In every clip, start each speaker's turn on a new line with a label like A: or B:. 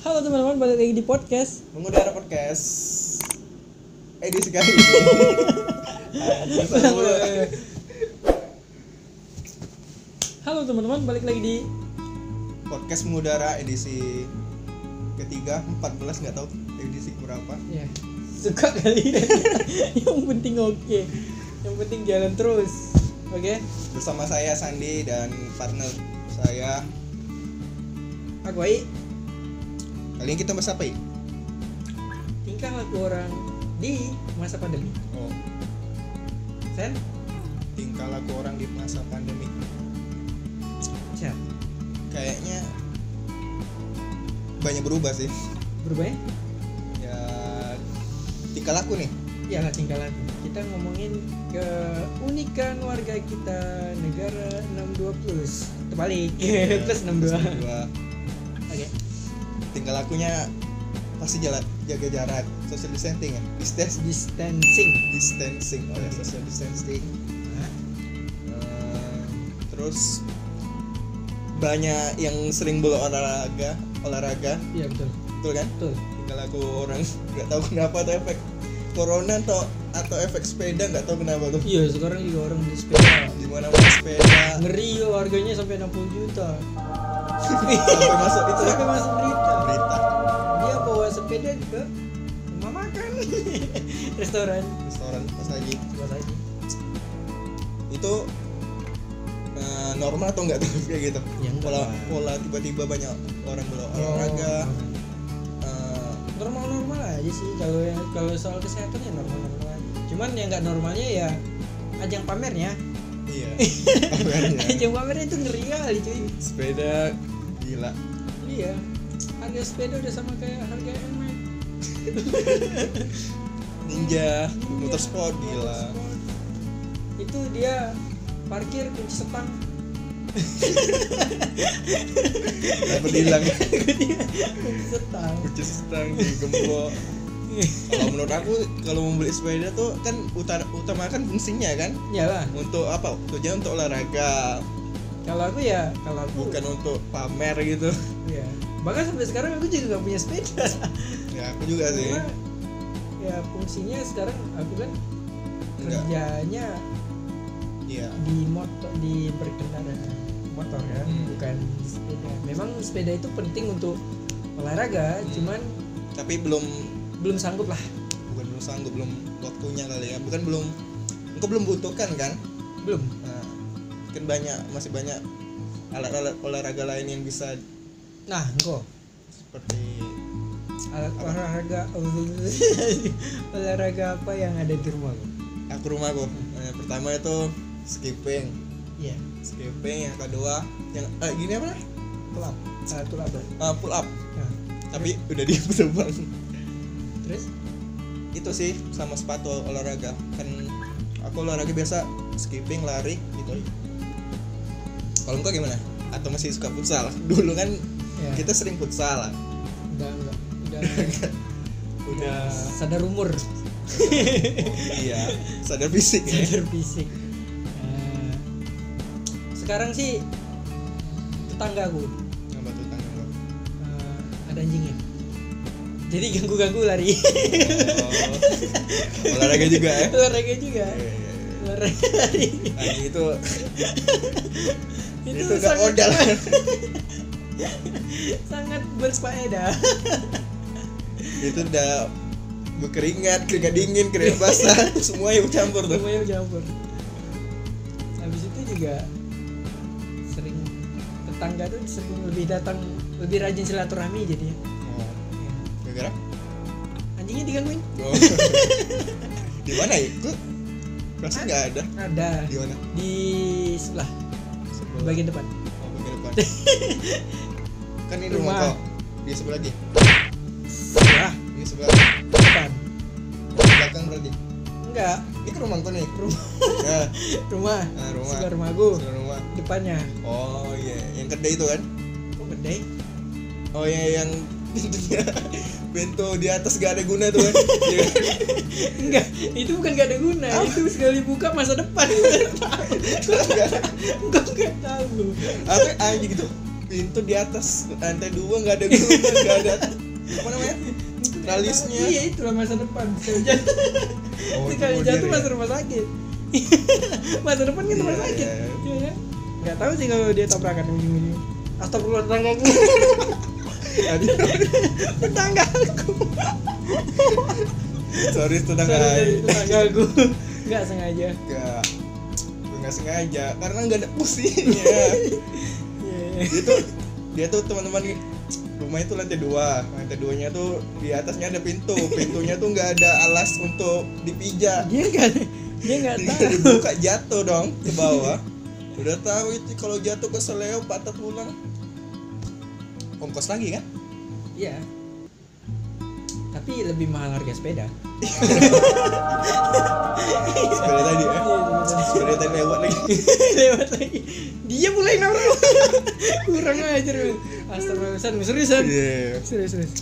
A: Halo teman-teman, balik lagi di podcast.
B: mengudara podcast edisi kali ini Anjing, salah mulu.
A: Halo teman-teman, balik lagi di
B: podcast mengudara edisi ketiga 14 nggak tahu edisi berapa
A: ya suka kali ini. Yang penting oke. Yang penting jalan terus. Oke,
B: bersama saya Sandi dan partner saya
A: aku Ai,
B: kali ini kita bahas apa ya?
A: tingkah laku orang di masa pandemi.
B: Oh,
A: Sen,
B: tingkah laku orang di masa pandemi
A: siap.
B: kayaknya banyak berubah sih
A: Berubah ya?
B: ya tingkah laku nih
A: Iyalah tingkah laku. Kita ngomongin keunikan warga kita negara 62 plus. Terbalik. plus 62. Oke.
B: Iya, dua tingkah lakunya pasti jalan jaga jarak social distancing ya Distance-
A: Distancing.
B: distancing oh ya social distancing Eh, terus banyak yang sering berolahraga olahraga
A: Iya betul.
B: betul kan
A: Betul.
B: tinggal aku orang nggak tahu kenapa atau efek corona atau atau efek sepeda nggak tahu kenapa tuh
A: Iya sekarang juga orang beli sepeda
B: di mana mana sepeda
A: Ngeri yo harganya sampai 60 juta
B: sampai masuk itu
A: Sampai
B: ya.
A: masuk berita
B: berita
A: Dia bawa sepeda ke rumah makan Restoran
B: restoran pas lagi
A: Coba lagi
B: itu eh, normal atau nggak tuh kayak gitu
A: Ya, enggak
B: pola
A: lah.
B: pola tiba-tiba banyak orang
A: Oh.
B: berolahraga
A: Iya.
B: eh,
A: Normal-normal aja sih kalau yang- kalau soal kesehatan ya normal-normal aja Cuman yang nggak normalnya ya ajang pamernya
B: Iya.
A: Ajang pamernya itu ngeri kali cuy
B: Sepeda gila.
A: Iya Harga sepeda udah sama kayak harga emek
B: Ninja, motorsport gila.
A: Itu dia parkir kunci setang
B: Kenapa bilang
A: kunci setang
B: kucis stang di gembok. Kalau menurut aku kalau membeli sepeda tuh kan utara, utamakan fungsinya kan
A: Iyalah,
B: untuk apa? Tujuan untuk olahraga,
A: kalau aku ya, kalau aku
B: bukan untuk pamer gitu.
A: ya. Bahkan sampai sekarang aku juga gak punya sepeda.
B: Ya aku juga sih.
A: Karena ya fungsinya sekarang aku kan
B: Enggak.
A: kerjanya
B: Iya.
A: di motor di berkendara motor ya,
B: Hmm.
A: bukan sepeda. Memang sepeda itu penting untuk olahraga,
B: Hmm.
A: cuman
B: Tapi belum
A: belum sanggup lah.
B: bukan belum sanggup, belum waktunya kali ya. Bukan belum engkau belum butuhkan kan?
A: Belum.
B: Nah, kan banyak masih banyak alat-alat olahraga lain yang bisa
A: Nah, engkau
B: seperti
A: alat
B: Apa?
A: olahraga olahraga apa yang ada di rumah lo?
B: aku rumah aku. Yang pertama itu skipping,
A: Iya,
B: skipping yang kedua yang eh, gini apa? nih?
A: kelab, alat kelab.
B: Ah, pull up.
A: Nah,
B: Tapi udah di terbang.
A: terus
B: Itu sih sama sepatu olahraga. Kan aku olahraga biasa skipping, lari gitu. Kalau engkau gimana? Atau masih suka futsal? Dulu kan
A: ya.
B: kita sering futsal.
A: udah enggak udah
B: Udah
A: sadar umur
B: iya, sadar fisik ya.
A: sadar fisik Eh, sekarang sih tetanggaku
B: Yang batu tangan gua.
A: eh, ada anjingnya jadi ganggu-ganggu lari
B: Oh. olahraga juga ya.
A: olahraga juga
B: iya,
A: olahraga lari
B: Anjing itu
A: itu,
B: itu enggak
A: sangat
B: modal.
A: sangat berfaedah
B: itu udah berkeringat, keringat dingin, keringat basah, semua yang campur tuh.
A: semuanya campur habis itu juga sering tetangga tuh sering lebih datang lebih rajin silaturahmi jadinya Ya.
B: Gara-gara?
A: anjingnya digangguin
B: Oh. di mana ya? Kok Rasa nggak ada.
A: ada
B: Di mana?
A: di sebelah
B: Sebelah.
A: bagian depan
B: Oh, bagian depan. kan ini rumah,
A: Rumah.
B: kau. Di sebelah lagi.
A: sebelah
B: Di sebelah. Di
A: depan
B: belakang berarti.
A: enggak
B: Ini kan rumah kau nih.
A: rumah
B: Nah,
A: rumah
B: nah rumah.
A: sebelah rumah gue
B: Sebelah rumah.
A: depannya
B: Oh iya, yang kedai itu kan?
A: kok gede
B: Oh iya yang pintunya pintu di atas gak ada guna tuh kan? Iya kan?
A: enggak itu bukan gak ada guna itu sekali buka masa depan
B: Itu kan nggak ada.
A: enggak enggak tahu
B: Apa anjing gitu? pintu di atas lantai dua nggak ada gurunya nggak ada apa namanya ralisnya
A: iya itulah masa depan sekali jatuh,
B: Oh, itu
A: sekali
B: modern
A: jatuh
B: ya.
A: masa rumah sakit masa depan kan rumah
B: Iya,
A: sakit
B: iya,
A: Iya, kan? nggak tahu sih kalau dia tabrakan ujung-ujungnya Astagfirullah tetangga aku tetangga aku
B: sorry tetangga
A: Sorry, tetangga aku nggak sengaja
B: nggak gue nggak sengaja karena nggak ada pusingnya
A: Iya, iya.
B: itu dia tuh teman-teman rumah itu lantai dua lantai duanya tuh di atasnya ada pintu pintunya tuh nggak ada alas untuk dipijak
A: dia nggak dia nggak
B: Tinggal
A: tahu
B: dibuka jatuh dong ke bawah udah tahu itu kalau jatuh ke seleo patah tulang ongkos lagi kan
A: Iya. Tapi lebih mahal harga sepeda.
B: sepeda tadi ya
A: Iya,
B: sepeda tadi lewat lagi
A: Lewat lagi. Dia mulai naruh. Kurang ajar. lu. Astagfirullah, serius seriusan.
B: Iya.
A: Serius serius.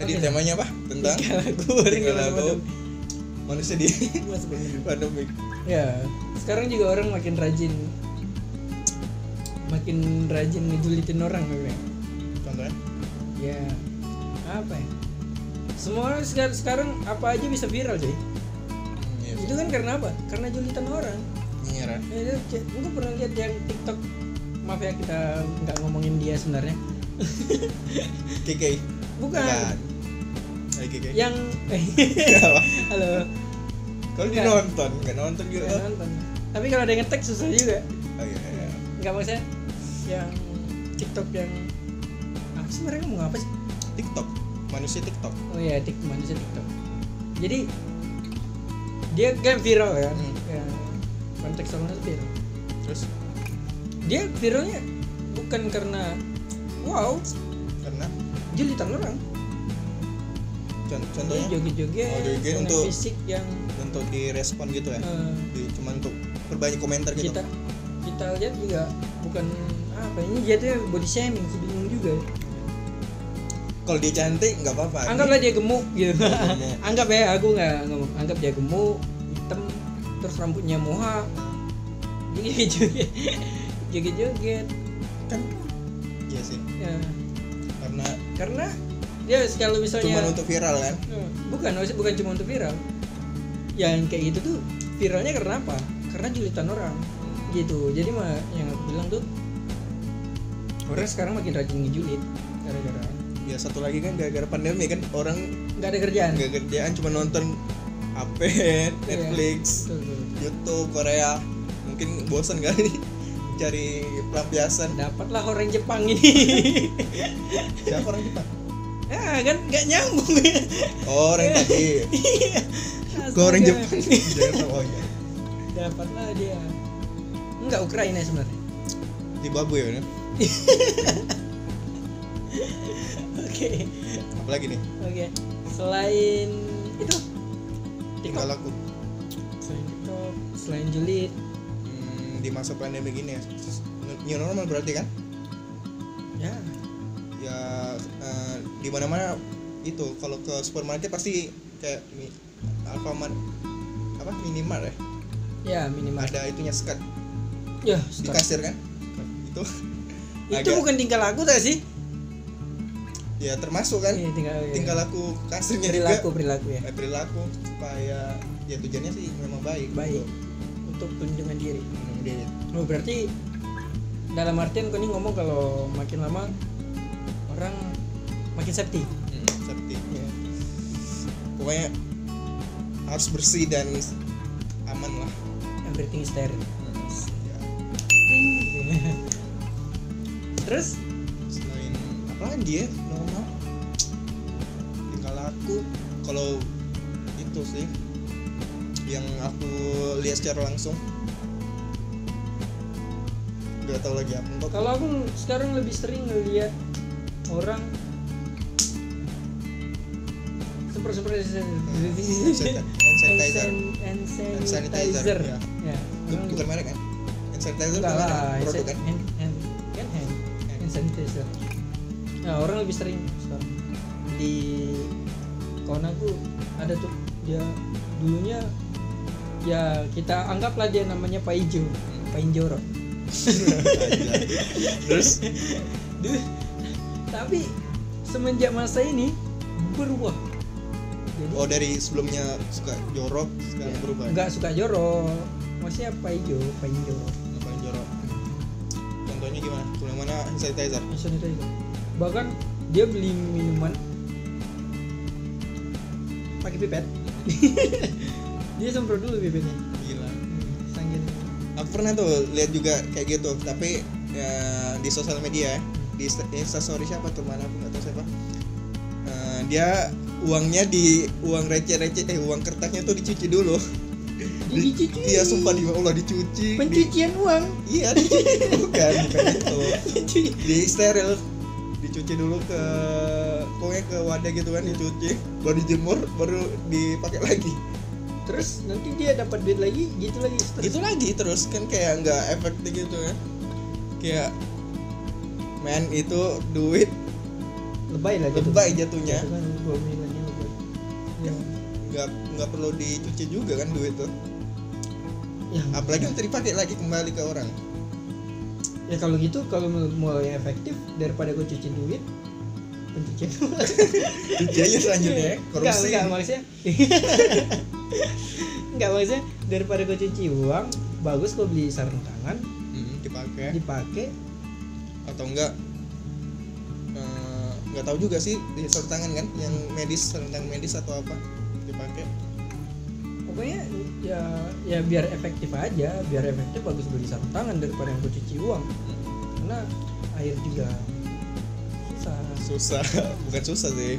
B: tadi
A: Oke.
B: temanya apa tentang
A: Tiga lagu orang
B: Tiga
A: yang masuk
B: lagu.
A: Bandung.
B: manusia di
A: Masuk Bandung.
B: pandemi
A: Ya, sekarang juga orang makin rajin makin rajin ngejulitin orang memang.
B: contohnya
A: Ya. Apa ya? Semua orang sekarang, sekarang apa aja bisa viral, cuy.
B: hmm, iya eh.
A: Itu kan karena apa? Karena julitan orang.
B: menyerah
A: Ya, mungkin pernah lihat yang TikTok maaf ya kita nggak ngomongin dia sebenarnya
B: KK
A: bukan
B: Hai KK
A: yang
B: Apa?
A: halo
B: kalau
A: Bukan.
B: di nonton nggak nonton juga
A: nggak nonton tapi kalau ada yang ngetek susah juga
B: oh iya iya.
A: nggak maksudnya yang TikTok yang apa sih mereka mau apa sih
B: TikTok manusia TikTok
A: oh ya tik manusia TikTok jadi dia kan viral kan
B: Hmm.
A: ya, konteks orang itu viral
B: terus
A: dia viralnya bukan karena wow
B: karena
A: julitan orang
B: con-
A: dia
B: contohnya
A: joget-joget
B: Oh, joget
A: dengan
B: untuk-
A: fisik yang
B: untuk direspon gitu ya
A: eh,
B: Di, cuman untuk perbanyak komentar gitu
A: kita kita lihat juga bukan apa ini jatuhnya body shaming sih, bingung juga ya.
B: kalau dia cantik nggak apa-apa
A: anggaplah dia gemuk gitu
B: Gemuk.
A: anggap ya aku nggak ngomong anggap dia gemuk hitam terus rambutnya moha dia joget joget joget
B: kan iya sih
A: ya.
B: karena
A: karena dia kalau
B: cuman
A: misalnya
B: untuk viral kan
A: Eh, bukan maksudnya bukan cuma untuk viral yang kayak gitu tuh viralnya karena apa karena julitan orang gitu jadi mah yang aku bilang tuh orang sekarang makin rajin ngejulit gara-gara
B: ya satu lagi kan gara-gara pandemi kan orang
A: nggak ada kerjaan
B: nggak kerjaan cuma nonton HP Netflix
A: Betul, betul.
B: YouTube Korea mungkin bosan kali cari pelampiasan
A: dapatlah orang Jepang ini
B: siapa orang Jepang
A: ya kan nggak nyambung ya
B: oh, orang tadi
A: Iya,
B: Gua orang
A: Astaga.
B: Jepang Jangan tahu, oh iya.
A: dapatlah dia nggak Ukraina sebenarnya
B: di babu ya bener?
A: oke
B: apalagi nih
A: oke selain itu
B: tinggal
A: TikTok
B: aku
A: selain TikTok selain julit
B: hmm, di masa pandemi gini ya new normal berarti kan
A: ya
B: ya eh, di mana mana itu kalau ke supermarket pasti kayak mi, Alfamart apa minimal ya
A: ya minimal
B: ada itunya sekat
A: ya
B: di
A: stop.
B: kasir kan itu
A: itu
B: agak-
A: bukan tingkah laku tak sih
B: ya termasuk kan
A: Iya, tingkah iya.
B: tinggal aku ke kasirnya juga
A: perilaku perilaku ya
B: eh, perilaku supaya ya tujuannya sih memang baik Gitu. Hmm,
A: baik untuk kunjungan diri
B: Minum diri.
A: Oh berarti dalam artian kau ini ngomong kalau makin lama orang makin Ya, safety.
B: Hmm, seperti pokoknya harus bersih dan aman lah
A: Everything is steril.
B: Ya,
A: Terus
B: selain apa lagi ya normal tinggal aku kalau itu sih yang aku lihat secara langsung gak tahu lagi apa Kok-
A: kalau aku sekarang lebih sering ngeliat orang super super
B: hand sanitizer hand sanitizer.
A: hand
B: Hand
A: sanitizer.
B: ya.
A: Ya,
B: Bu-
A: orang-
B: bukan merek kan hand sanitizer
A: Enggak
B: bukan merek
A: lah,
B: kan? produk kan
A: hand, hand, kan hand, hand sanitizer. Nah, orang lebih sering sekarang di kawan aku ada tuh dia dulunya ya kita anggaplah dia namanya Pak Ijo, Pak Injoro.
B: Aja. Iya, terus
A: Duh, tapi semenjak masa ini berubah. Jadi
B: oh dari sebelumnya suka jorok sekarang
A: ya,
B: berubah
A: nggak suka jorok. Maksudnya apa ijo, apa ijo.
B: apa yang jorok contohnya gimana Kalau yang mana hand sanitizer
A: Hand sanitizer. Bahkan dia beli minuman pakai pipet. dia semprot dulu pipetnya.
B: gila
A: Sanggit.
B: aku pernah tuh lihat juga kayak gitu tapi ya, di sosial media ya. di Insta- instastory siapa tuh mana aku nggak tahu siapa Eh, dia uangnya di uang receh-receh eh uang kertasnya tuh dicuci dulu Di-
A: Dicuci.
B: iya sumpah di Allah dicuci di-
A: Pencucian uang.
B: iya dicuci bukan bukan itu di steril dicuci dulu ke pokoknya ke wadah gitu kan dicuci baru dijemur baru dipakai lagi
A: Terus nanti dia dapat duit lagi, gitu lagi. Terus
B: itu lagi terus kan kayak nggak efektif gitu kan kayak men itu duit
A: lebay lah gitu.
B: lebay jatuhnya
A: Jatuhkan dua miliarnya lebay. Ya.
B: nggak nggak perlu dicuci juga kan duit tuh
A: Ya.
B: apalagi nanti dipakai lagi kembali ke orang
A: ya kalau gitu kalau menurut mau yang efektif daripada gue cuci duit pencucian
B: cuci aja Iya,
A: Iya,
B: selanjutnya ya, korupsi
A: enggak, enggak maksudnya enggak maksudnya daripada gue cuci uang bagus gue beli sarung tangan
B: Hmm, dipakai
A: dipakai
B: atau enggak eh, nggak tahu juga sih di sarung tangan kan yang medis sarung tangan medis atau apa dipakai
A: pokoknya ya ya biar efektif aja biar efektif bagus beli sarung tangan daripada yang gue cuci uang karena air juga susah
B: susah bukan susah
A: air
B: sih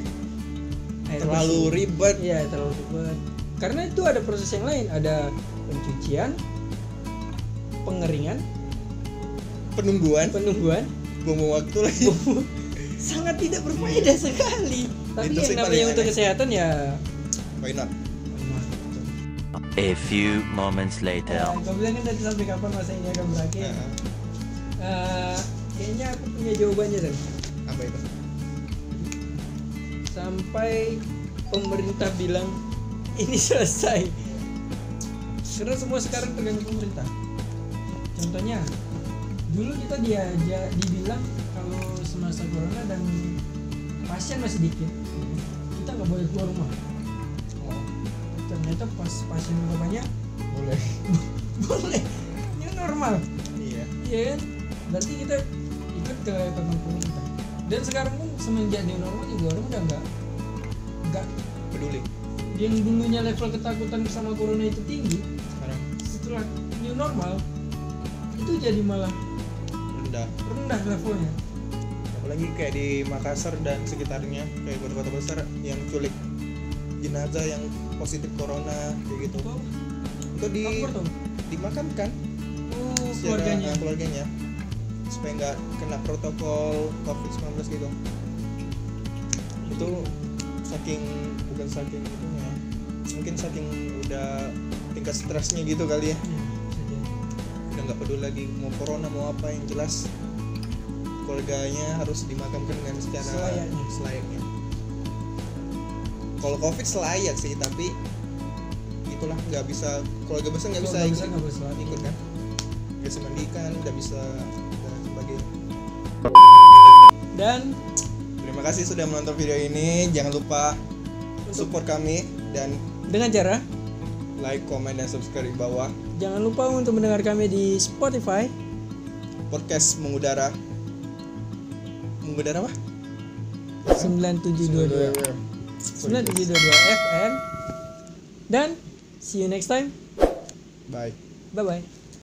A: bersih.
B: terlalu ribet
A: Iya terlalu ribet. Karena itu ada proses yang lain, ada pencucian, pengeringan,
B: penungguan
A: penungguan.
B: buang waktu lagi
A: Sangat tidak berfaedah sekali. Tapi
B: Itu
A: yang
B: sih paling
A: namanya untuk
B: aneh.
A: kesehatan ya.
B: why not
C: A few moments later.
B: Ya.
A: Nah, gue bilang kan tadi sampai kapan masa ini akan berakhir.
B: Nah,
A: Eh, kayaknya aku punya jawabannya Zan.
B: apa itu
A: Sampai pemerintah bilang ini selesai. Karena semua sekarang tergantung pemerintah. Contohnya, dulu kita dia, dia- dibilang kalau semasa corona dan pasien masih dikit, kita nggak boleh keluar rumah. Ternyata pas pasien udah banyak,
B: boleh
A: boleh. Ini normal,
B: iya
A: ya kan? Berarti kita ikut ke kantong pemerintah. Dan sekarang pun semenjak new normal juga orang udah nggak nggak
B: peduli
A: yang dulunya level ketakutan sama corona itu tinggi
B: sekarang
A: setelah new normal itu jadi malah
B: rendah
A: rendah levelnya
B: apalagi kayak di Makassar dan sekitarnya kayak kota-kota besar yang culik jenazah yang positif corona kayak gitu
A: itu apa?
B: itu di
A: Lapor tuh
B: dimakamkan
A: oh
B: secara-
A: keluarganya
B: ah, keluarganya supaya nggak kena protokol covid 19 gitu itu saking bukan saking itu ya mungkin saking udah tingkat stresnya gitu kali ya
A: Iya, bisa jadi.
B: udah nggak peduli lagi mau corona mau apa yang jelas keluarganya harus dimakamkan dengan secara
A: Selayaknya.
B: selayaknya. kalau covid selayak sih tapi itulah nggak bisa keluarga besar nggak bisa
A: Keluarga
B: ikut
A: besar nggak bisa ikut.
B: ikut kan nggak bisa mandikan nggak bisa dan sebagainya
A: dan
B: terima kasih sudah menonton video ini jangan lupa
A: untuk-
B: support kami dan
A: dengan cara
B: like comment dan subscribe di bawah
A: jangan lupa untuk mendengar kami di Spotify
B: podcast mengudara mengudara apa
A: 9722
B: Sorry.
A: 9722 FM dan see you next time
B: Bye.
A: bye bye